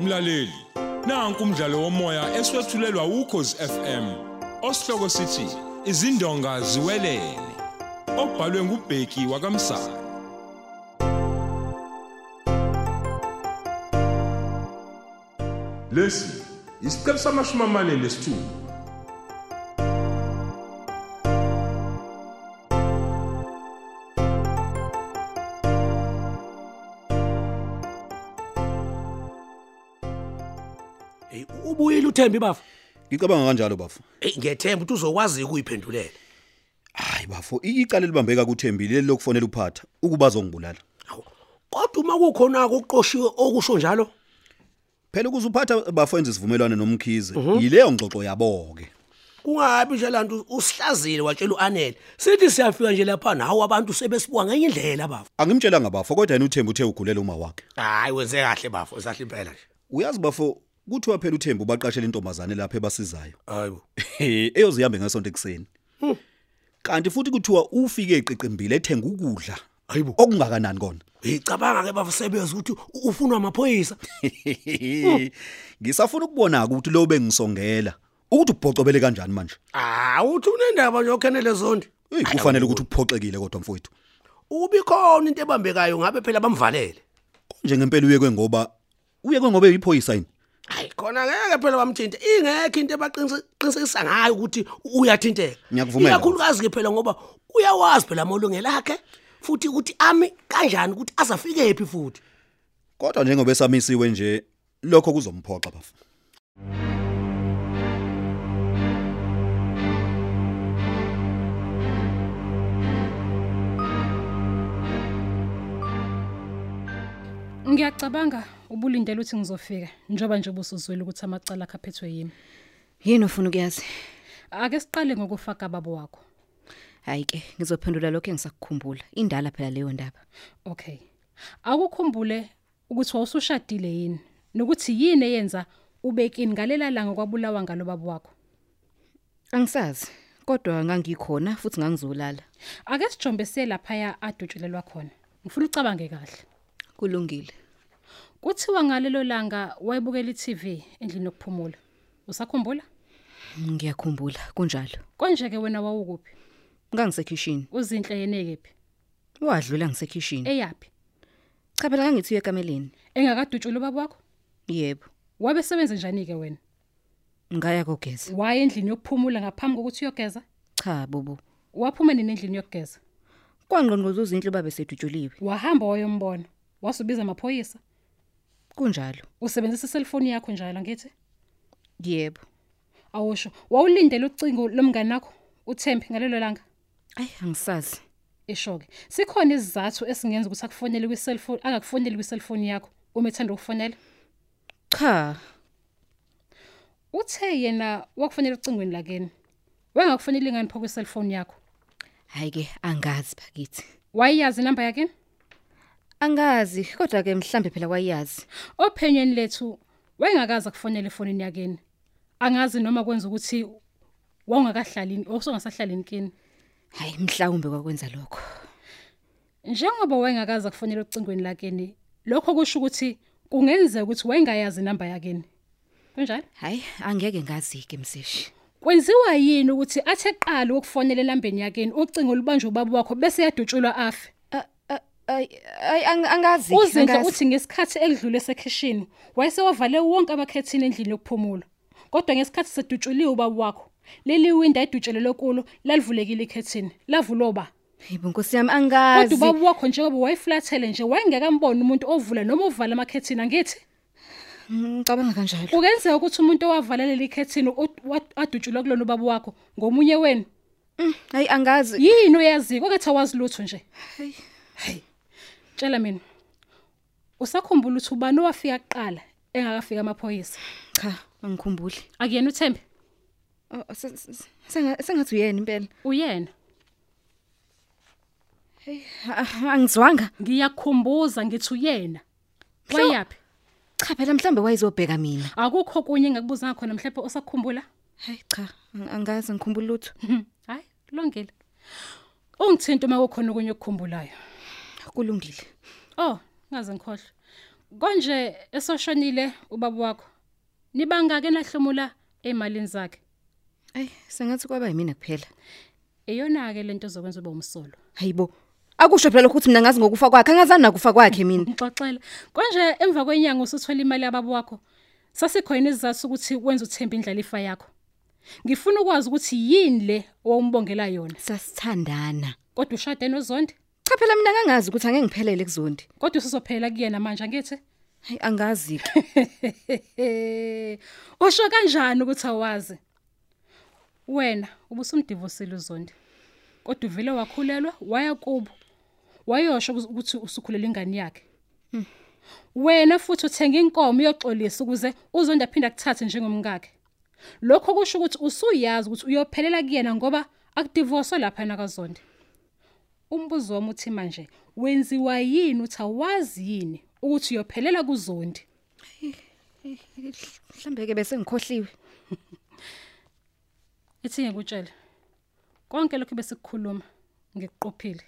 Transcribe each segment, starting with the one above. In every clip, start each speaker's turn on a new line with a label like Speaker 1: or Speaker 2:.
Speaker 1: Mlaleli, nanku umdlalo womoya eswetshulelwa ukhozi FM. Osihloko sithi izindonga ziwelele. Obhalwe ngubheki wakamsa. Lesi isiqebu samashumi amane nesithupha.
Speaker 2: Hey, ubuyile uThembi bafu.
Speaker 3: Ngicabanga kanjalo bafo.
Speaker 2: Hey, ngiyethemba ukuthi uzokwazi ukuyiphendulela.
Speaker 3: Hayi bafo, icala libambeka kuThembile lelo kufanele uphatha ukuba zongibulala.
Speaker 2: Hawu. Kodwa uma kukhona ukuqoshiwe okusho njalo,
Speaker 3: Phela ukuze uphatha bafo enze isivumelwano nomkhize, yileyo ngxoxo yabo ke.
Speaker 2: kungabi nje lantu usihlazile watshela uanele. Sithi siyafika nje lapha nawo abantu sebesibuka ngenye indlela bafu.
Speaker 3: Angimtshela ngabafo kodwa yena uThembi uthe ugulela uma wakhe.
Speaker 2: Hayi wenze kahle bafu, usahle impela nje.
Speaker 3: Uyazi bafo, kuthiwa phela uThembi ubaqashela intombazane lapha ebasizayo.
Speaker 2: Hayibo.
Speaker 3: Eyozihambe ngasonto ekseni. Kanti futhi kuthiwa ufike eqiqimbile ethenga ukudla.
Speaker 2: Hayibo.
Speaker 3: Okungakanani kona?
Speaker 2: Ngicabanga ke bafu sebeza ukuthi u- ufunwa amaphoyisa.
Speaker 3: Ngisafuna ukubona ukuthi lo bengisongela ukuthi ubhocobele kanjani manje.
Speaker 2: Hawu uthi unendaba nje okhenele zondi.
Speaker 3: Hey kufanele ukuthi uphoxekile kodwa mfowethu.
Speaker 2: Ubikhona into ebambekayo ngabe phela bamvalele.
Speaker 3: Nje ngempela uye kwengoba uye kwengoba uyiphoyisa yini?
Speaker 2: Hayi khona ngeke phela bamthinta. Ingekho into ebaqinisekisa ngayo ukuthi uyathinteka.
Speaker 3: Ngiyakuvumela.
Speaker 2: Ikakhulukazi ke phela ngoba uyawazi phela amalungelo akhe futhi ukuthi ami kanjani ukuthi azafike phi futhi.
Speaker 3: Kodwa njengoba esamisiwe nje lokho kuzomphoxa bafu.
Speaker 4: Ngiyacabanga ubulindele ukuthi ngizofika njoba nje busuzwele ukuthi amacala akhe aphethwe yimi.
Speaker 5: Yini ufuna ukuyazi?
Speaker 4: Ake siqale ngokufaka babo wakho.
Speaker 5: Hayi ke, ngizophendula lokho engisakukhumbula. Indala phela leyo ndaba.
Speaker 4: Okay. Akukhumbule ukuthi wawusushadile yini nokuthi yini eyenza ubekini ngalela langa kwabulawa ngalo babo wakho.
Speaker 5: Angisazi, kodwa ngangikhona futhi ngangizolala.
Speaker 4: Ake sijombese lapha adutshelelwa khona. Ngifuna ucabange kahle.
Speaker 5: Kulungile.
Speaker 4: Kuthiwa ngalelo langa wayebukela iTV endlini yokuphumula. Usakhumbula?
Speaker 5: Ngiyakhumbula kunjalo.
Speaker 4: Konje ke wena wawukuphi?
Speaker 5: Ngangisekitchen.
Speaker 4: Uzinhle yene kephi?
Speaker 5: Wadlula ngisekitchen.
Speaker 4: Eyapi?
Speaker 5: Cha phela ngangithi uye kameleni.
Speaker 4: Engakadutshulwa babo wakho?
Speaker 5: Yebo.
Speaker 4: Wabesebenza njani ke wena?
Speaker 5: Ngaya kogeza.
Speaker 4: Waya endlini yokuphumula ngaphambi kokuthi uyogeza?
Speaker 5: Cha bubu.
Speaker 4: Waphuma nini endlini yokugeza?
Speaker 5: Kwangqonqoza uzinhle babe sedutshuliwe.
Speaker 4: Wahamba wayombona. Wasubiza amaphoyisa.
Speaker 5: Kunjalo.
Speaker 4: Usebenzisa iselfoni yakho njalo ngithi?
Speaker 5: Yebo.
Speaker 4: Awusho, wawulindele ucingo lomngane wakho uThembi ngalelo langa.
Speaker 5: Ayi angisazi.
Speaker 4: Eshoke. Sikhona isizathu esingenza ukuthi akufonele kwiselfoni, akakufonele kwiselfoni yakho uma ethanda ukufonela.
Speaker 5: Cha.
Speaker 4: Uthe yena wakufonela ucingweni lakeni. Wengakufoneli ngani pho kwiselfoni yakho?
Speaker 5: Hayi ke angazi bakithi.
Speaker 4: Wayiyazi inamba yakini?
Speaker 5: Angazi kodwa ke mhlambe phela wayazi.
Speaker 4: ophenyweni lethu wayengakaza kufonela efonini yakeni angazi noma kwenza ukuthi wawungakahlalini osongasahlalini kini
Speaker 5: Hayi mhlawumbe kwakwenza lokho.
Speaker 4: njengoba wayengakaza kufonela ocingweni lakeni lokho kusho ukuthi kungenzeka ukuthi wayengayazi inamba yakeni kunjani
Speaker 5: Hayi angeke ngazi ke mseshi.
Speaker 4: kwenziwa yini ukuthi athe qali ukufonela elambeni yakeni ucingo lubanjwe ubaba wakho bese yadutshulwa afe
Speaker 5: Ah, ah, ay ay, ang- angazi
Speaker 4: uzinhle
Speaker 5: angazi.
Speaker 4: uthi ngesikhathi ekudlule esekhishini wayesewavale wonke abakhethini endlini yokuphumula kodwa ngesikhathi sedutshuliwe ubaba wakho leli winda edutshelelwe kulo lalivulekile ikhethini lavulwa ba
Speaker 5: Yebo Nkosi yami
Speaker 4: kodwa
Speaker 5: angazi.
Speaker 4: ubaba wakho njengoba wayeflathele nje wayengekamboni umuntu ovula noma ovala amakhethini angithi
Speaker 5: Ngicabanga kanjalo.
Speaker 4: kungenzeka ukuthi umuntu owavala leli khethini u- wa- adutshulwa kulona ubaba wakho ngomunye wenu
Speaker 5: Mm, Hayi angazi.
Speaker 4: yini uyaziyo kwakethe awazi lutho nje
Speaker 5: Hayi.
Speaker 4: hayi tshela mina usakhumbula ukuthi ubani owafika kuqala engakafika amaphoyisa
Speaker 5: Cha, angikhumbuli.
Speaker 4: akuyena uthembe
Speaker 5: Oh, se- se- senga- Sengathi uyena impela.
Speaker 4: uyena
Speaker 5: Ah, Angizwanga.
Speaker 4: ngiyakhumbuza ngithi uyena
Speaker 5: Mhlo-
Speaker 4: wayapi
Speaker 5: Cha phela mhlambe wayizobheka mina.
Speaker 4: akukho kunye engakubuzanga khona mhlawumbe osakhumbula
Speaker 5: Hayi cha, ang- angazi ngikhumbula lutho.
Speaker 4: hayi kulungile ungithinta uma kukhona okunye okukhumbulayo
Speaker 5: Kulungile.
Speaker 4: oh ngaze ngikhohle konje esoshonile ubaba wakho nibangake nahlomula emalini zakhe
Speaker 5: Ayi, sengathi kwaba yimina kuphela.
Speaker 4: eyona ke lento zokwenza ube umsolo
Speaker 5: Hayibo. Akusho phela lokho ukuthi mina ngazi ngokufa kwakhe, angazani nakufa kwakhe mina.
Speaker 4: ngixoxela konje emva kwenyanga usuthola imali yababa wakho sasikhona isizathu ukuthi kwenza uthemba indlalifa yakho ngifuna ukwazi ukuthi yini le owumbongela yona
Speaker 5: Sasithandana.
Speaker 4: kodwa ushade nozondi
Speaker 5: Cha phela mina ngangazi ukuthi angeke ngiphelele kuzondi.
Speaker 4: kodwa usizophela kuyena manje angithi
Speaker 5: Hayi angazi ke.
Speaker 4: usho kanjani ukuthi awazi wena ubusumdivosile uzondi kodwa uvele wakhulelwa waya kubo wayosho ukuz- ukuthi usukhulela ingane yakhe wena futhi uthenga inkomo yoxolisa ukuze uzondi aphinde akuthathe njengomkakhe lokho kusho ukuthi usuyazi ukuthi uyophelela kuyena ngoba akudivoso lapha nakazondi umbuzo wami uthi manje wenziwa yini uthi awazi yini ukuthi uyophelela kuzondi
Speaker 5: Mhlambe ke bese ngikhohliwe.
Speaker 4: Ithi ngikutshela. Konke lokho besikukhuluma ngikuqophile.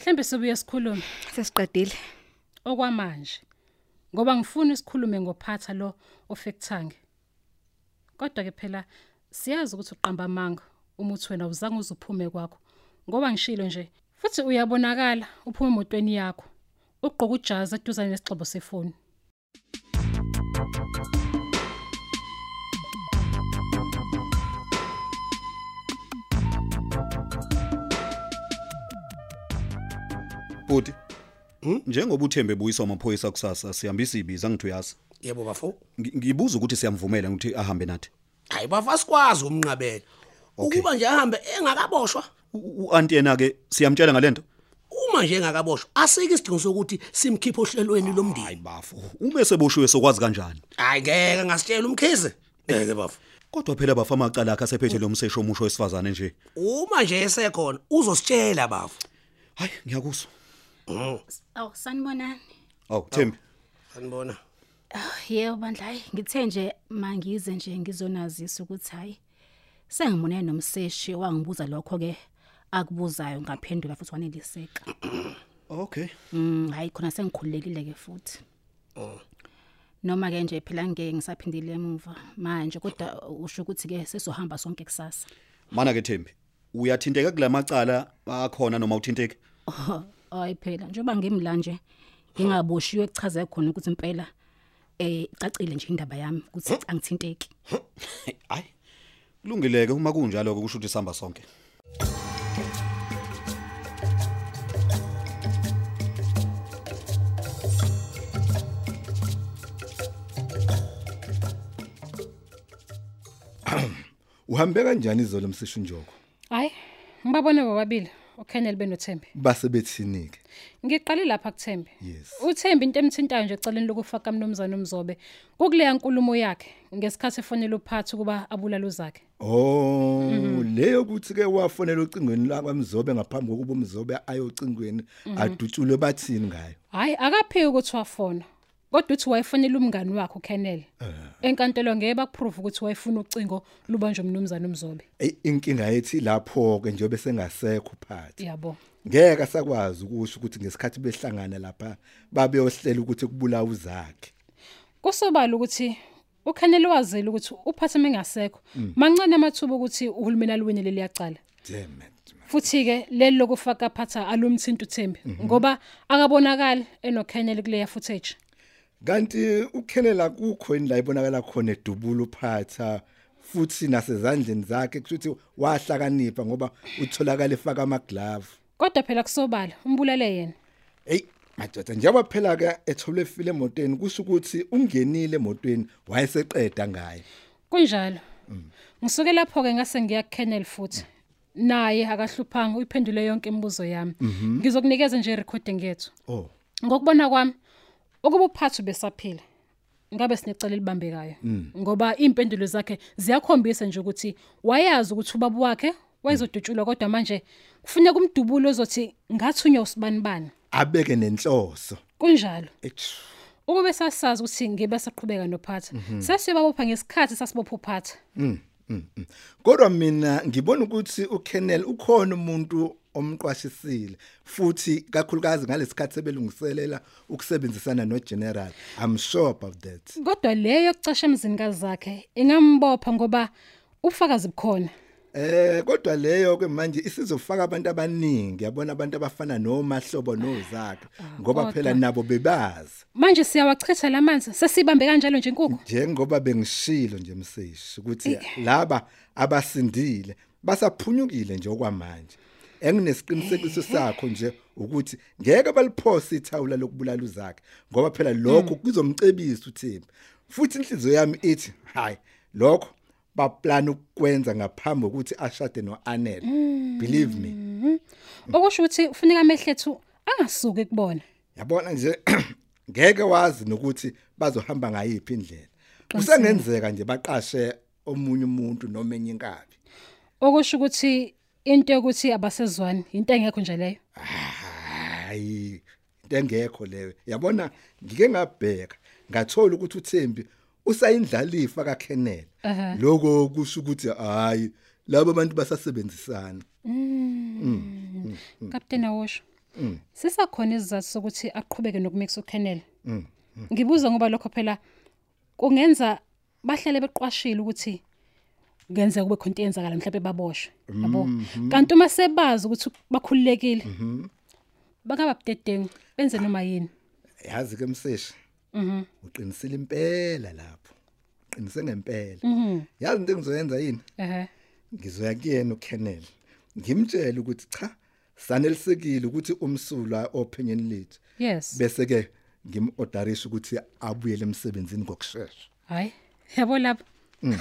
Speaker 4: Mhlembe sobuye sikhulume
Speaker 5: Sesiqedile.
Speaker 4: okwamanje. Ngoba ngifuna isikhulume ngophatha lo ofekthange. Kodwa ke phela siyazi ukuthi uqamba manga umuthi wena uzange uzuphume kwakho. Ngoba ngishilo nje futhi uyabonakala uphume emotweni yakho. Ugqoka ujazi eduzane nesixhobo sefoni.
Speaker 3: Bhuti. Njengoba uThembe buyiswa amaphoyisa kusasa sihambisa ibiza ngithi uyazi.
Speaker 2: yebo bafo
Speaker 3: Ngi- Ngibuza ukuthi siyamvumela ukuthi ahambe nathi.
Speaker 2: hayi bafa sikwazi umnqabela
Speaker 3: Okay.
Speaker 2: ukuba nje ahambe engakaboshwa
Speaker 3: U- U-Aunt yena ke siyamtshela ngalento.
Speaker 2: uma nje engakaboshwa asike isidingo sokuthi simkhiphe ohlelweni lomndeni
Speaker 3: Bafo, ume seboshiwe sokwazi kanjani?
Speaker 2: hayi ngeke ngasitshela umkhize ngeke bafo
Speaker 3: Kodwa phela bafa amacala akhe asephethe lo msesho omusho wesifazane nje.
Speaker 2: uma nje esekhona uzositshela bafo
Speaker 3: Hayi, ngiyakuzwa.
Speaker 6: Aw sanibonani.
Speaker 3: Aw, Thembi.
Speaker 2: sanibona
Speaker 6: Yebo bandla hayi ngithe nje mangize nje ngizonazisa ukuthi hayi sengimune nomseshi wangibuza lokho ke akubuzayo ngaphendula futhi waneliseka.
Speaker 3: Okay.
Speaker 6: Mm hayi khona sengikhululekile ke futhi. Noma ke nje phela ngeke ngisaphindile emuva manje kodwa usho ukuthi ke sesohamba sonke kusasa.
Speaker 3: Mana ke Thembi, uyathinteka kulamacala akhona noma uthinteke?
Speaker 6: Hayi phela njoba ngimla nje ngingaboshiwe ekuchaze khona ukuthi impela eh cacile nje indaba yami ukuthi angithinteki.
Speaker 3: Hayi. Kulungileke uma kunjalo ke kusho ukuthi sihamba sonke.
Speaker 7: uhambe kanjani izolo msisho njoko
Speaker 4: Hayi, ngibabona bobabili, uKenneth benoThembi.
Speaker 7: base bethinike
Speaker 4: Ngiqale lapha kuThembi.
Speaker 7: Yes.
Speaker 4: uThembi into emthintayo nje eceleni lokufaka umnumzane uMzobe kukuleya nkulumo yakhe ngesikhathi efonela uphathi kuba abulala uzakhe.
Speaker 7: oh leyo kuthi ke wafonela ocingweni lakwamzobe ngaphambi kokuba umzobe ayocingweni adutshulwe bathini ngayo
Speaker 4: Hayi akaphiki ukuthi wafona. Kodwa uthi wayefonela umngani wakhe uKenneth. Enkantolo ngeke bakuprove ukuthi wayefuna ucingo lubanjwe umnumzane uMzobe.
Speaker 7: Ey, inkinga yethi lapho ke njengoba sengasekho phathi
Speaker 4: Yabo.
Speaker 7: ngeke asakwazi ukusho ukuthi ngesikhathi behlangana lapha babeyohlela ukuthi kubulawa uzakhe
Speaker 4: Kusobala ukuthi uKenneth wazela ukuthi uphathi mengasekho. Mancane amathuba ukuthi uhulumeni alwini leli yacala.
Speaker 7: damn it
Speaker 4: futhi ke leli lokufaka phatha alumthinta uThembi ngoba akabonakali enoKenneth kuleya footage
Speaker 7: kanti ukhelela kukho indla ibonakala khona edubula uphatha futhi nasezandleni zakhe kushuthi wahlakanipha ngoba utholakala efaka amaglove
Speaker 4: kodwa phela kusobala umbulale yena
Speaker 7: hey madoda njengoba phela ke ethole file emotweni kusho ukuthi ungenile emotweni wayeseqeda ngaye
Speaker 4: kunjalo ngisuke lapho ke ngase ngiya kuKenneth futhi naye akahluphanga uyiphendule yonke imibuzo yami ngizokunikeza nje recording yethu
Speaker 7: oh
Speaker 4: ngokubona kwami ukuba uphathu besaphila ngabe sinecala elibambekayo ngoba impendulo zakhe ziyakhombisa nje ukuthi wayazi ukuthi ubaba wakhe wayezodutshulwa kodwa manje kufuneka umdubulo ozothi ngathunywa usibani bani
Speaker 7: abeke nenhloso
Speaker 4: kunjalo
Speaker 7: Eish,
Speaker 4: ukube sasazi ukuthi ngibe saqhubeka nophatha sasiyobabopha ngesikhathi sasibopha uphatha
Speaker 7: mm, kodwa mina ngibona ukuthi uKennel ukhona umuntu omqwashisile futhi kakhulukazi ngalesikhathi sebelungiselela ukusebenzisana nogeneral i'm sure about that
Speaker 4: kodwa leyo yokucasha emzini kazakhe ingambopha ngoba ubufakazi bukhona
Speaker 7: eh kodwa leyo ke manje isizofaka abantu abaningi yabona abantu abafana nomahlobo nozakhe ngoba
Speaker 4: kodwa.
Speaker 7: phela nabo bebazi
Speaker 4: manje siyawachitha la manzi sesibambe kanjalo nje inkukhu
Speaker 7: njengoba bengishilo nje mseshi ukuthi laba abasindile basaphunyukile nje okwamanje enginesiqinisekiso sakho nje ukuthi ngeke baliphose ithawula lokubulala uzakhe ngoba phela lokho kuzomcebisa uThembi futhi inhliziyo yami ithi hayi lokho baplan ukwenza ngaphambi kokuthi ashade noAnel believe me
Speaker 4: okusho ukuthi ufuneka amehlethu angasuki kubona
Speaker 7: yabona nje ngeke wazi nokuthi bazohamba ngayiphi indlela kusengenzeka nje baqashe omunye umuntu noma enye inkabi
Speaker 4: okusho ukuthi into yokuthi abasezwani into engekho nje leyo
Speaker 7: hayi into engekho leyo yabona ngike ngabheka ngathola ukuthi uThembi usayindlalifa kaKenneth loko kusho ukuthi hayi labo abantu basasebenzisana
Speaker 4: kapteni awosho sisakhona isizathu sokuthi aqhubeke nokumikisa ukhenela ngibuza ngoba lokho phela kungenza bahlale beqwashile ukuthi kungenzeka kube khona into eyenzakala mhlawumbe baboshwe yabo kanti uma sebazi ukuthi bakhululekile bangaba budedengu benze noma yini
Speaker 7: yazi ke mseshi mhm uqinisile impela lapho uqinise ngempela yazi into engizoyenza yini
Speaker 4: ehe
Speaker 7: ngizoya kuyena uKenneth ngimtshele ukuthi cha sanelisekile ukuthi umsulwa opinion lethu
Speaker 4: yes
Speaker 7: bese ke ngimorderisha ukuthi abuye emsebenzini ngokusheshsha
Speaker 4: hayi yabo lapho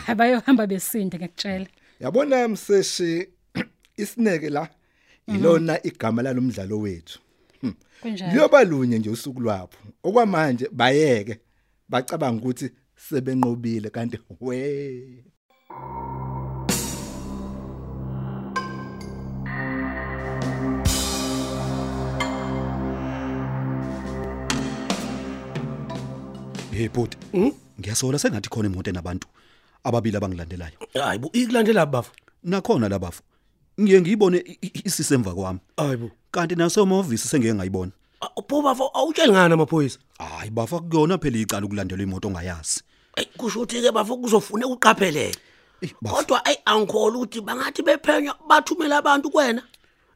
Speaker 4: abayohamba besinde ngiyakutshela
Speaker 7: yabona mseshi isineke la ilona igama lalomdlalo wethu
Speaker 4: kunjani
Speaker 7: liyoba lunye nje usuku lwapho okwamanje bayeke bacabanga ukuthi sebenqobile kanti we
Speaker 3: hey bhuti
Speaker 7: Hmm?
Speaker 3: ngiyasola sengathi khona imoto enabantu ababili abangilandelayo
Speaker 2: hayi bo ikulandela bafu
Speaker 3: nakhona labafu ngiye ngiyibone i- i- isisemva kwami
Speaker 2: hayi bo
Speaker 3: kanti nasomahovisi sengeke ngayibona
Speaker 2: bo bafu awutsheli ngani amaphoyisa
Speaker 3: hayi bafa kuyona phela icala ukulandelwa imoto ongayazi
Speaker 2: Ey, kusho ukuthi ke bafu kuzofuneka uqaphelele
Speaker 3: Eh, bafu.
Speaker 2: kodwa ayi angikholwa ukuthi bangathi bephenya bathumela abantu kuwena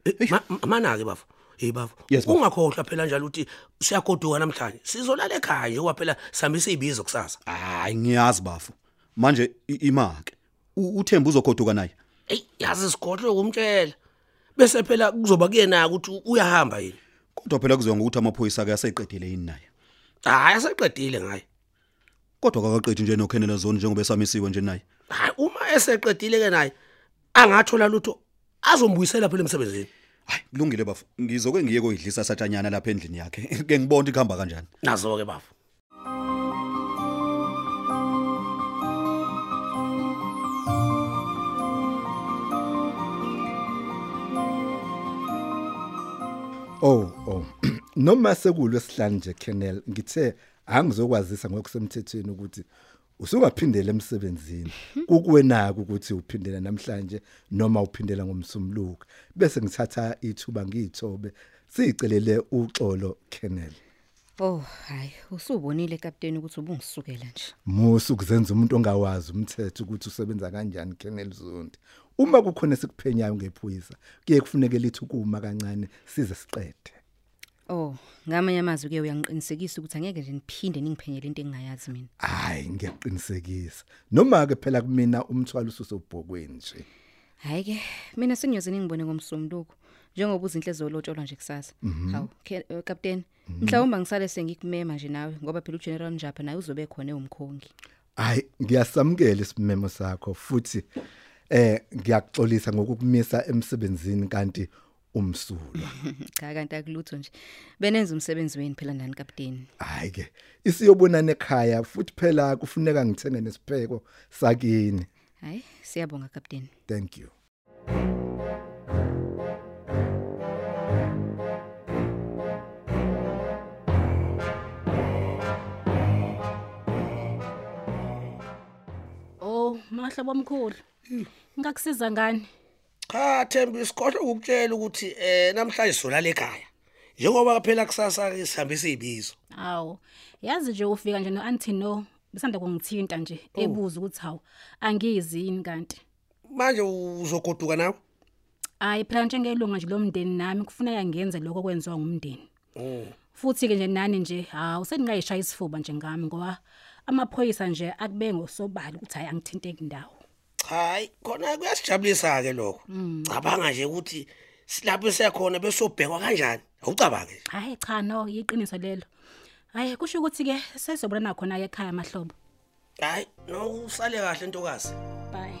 Speaker 2: Eh, ma- ma- mana-ke bafu eyi bafu
Speaker 3: Yes, bafu.
Speaker 2: ungakhohlwa phela njalo ukuthi siyagoduka namhlanje sizolala ekhaya nje ngoba phela sihambisa iy'bizo kusasa
Speaker 3: hayi ngiyazi bafu manje i- imake U- uthemba uzokhoduka naye
Speaker 2: eyi yazi sigohlwe ukumtshela bese phela kuzoba kuyena-ke ukuthi uyahamba yini
Speaker 3: kodwa phela kuzoya ngokuthi amaphoyisa ake aseqedile yini naye
Speaker 2: hhayi aseqedile ngaye
Speaker 3: kodwa kakaqedi nje nokhenela zone njengoba esamisiwe nje naye
Speaker 2: hayi uma eseqedile-ke naye angathola lutho azombuyisela phela emsebenzini
Speaker 3: hayi kulungile bafu ngizoke ngiye koyidlisa satshanyana lapha endlini yakhe ke ngibona ukuthi kuhamba kanjani
Speaker 2: nazo-ke bafu
Speaker 7: oh oh noma sekulo esihlanu nje Kenneth ngithe angizokwazisa ngokusemthethweni ukuthi usungaphindela emsebenzini kukuwenaka ukuthi uphindela namhlanje noma uphindela ngomsumluko bese ngithatha ithuba ngiyithobe sicelele uxolo Kenneth
Speaker 5: Oh, hayi, usubonile kapteni ukuthi ubungisukela nje.
Speaker 7: musu kuzenza umuntu ongawazi umthetho ukuthi usebenza kanjani Kenneth Zondi uma kukhona sikuphenyayo ngephoyisa kuye kufuneke lithi kuma kancane size siqede
Speaker 5: Oh, ngamanye amazwi ke uyangiqinisekisa ukuthi angeke nje niphinde ningiphenyele into engingayazi mina.
Speaker 7: hayi ngiyaqinisekisa noma ke phela kumina umthwalo ususobhokweni nje
Speaker 5: Hayi ke, mina sengiyozini ngibone ngomsomluko njengoba izinhle zolotsholwa nje kusasa. Hawu, Ke- eh, kapteni, mhlawumbe ngisale sengikumema nje nawe ngoba phela uGeneral Njapa naye uzobe khona eumkhongi.
Speaker 7: hayi ngiyasamukela isimemo sakho futhi eh ngiyaxolisa ngokukumisa emsebenzini kanti umsulwa
Speaker 5: Cha kanti akulutho nje. Benenza umsebenzi wenu phela nani kapteni.
Speaker 7: hayi ke isiyobonana ekhaya futhi phela kufuneka ngithenge nesipheko sakini
Speaker 5: Hayi, siyabonga kapteni.
Speaker 7: thank you
Speaker 6: Oh, mahlobo omkhulu. Ngakusiza ngani?
Speaker 2: cha Thembi sikhohle ukutshela ukuthi eh namhlanje solala ekhaya njengoba phela kusasa ke sihambisa izibizo
Speaker 6: Awu, yazi nje ufika nje noAntino bisanda kungithinta nje ebuza ukuthi hawu angizini kanti.
Speaker 2: manje uzogoduka nawe
Speaker 6: Hayi phela njengelunga nje lomndeni nami kufuneka ngenze lokho kwenziwa ngumndeni. Futhi ke nje nani nje hawu seningayishaya isifuba nje ngami ngoba amaphoyisa nje akube ngosobala ukuthi hayi angithinteki ndawo.
Speaker 2: cha hayi khona kuyasijabulisa ke lokho cabanga nje ukuthi silapho sekhona besobhekwa kanjani awucabange nje
Speaker 6: Hayi cha no iqiniso lelo. Hayi kusho ukuthi ke sesizobona khona ke ekhaya amahlobo.
Speaker 2: hayi no usale kahle ntokazi
Speaker 6: Bye.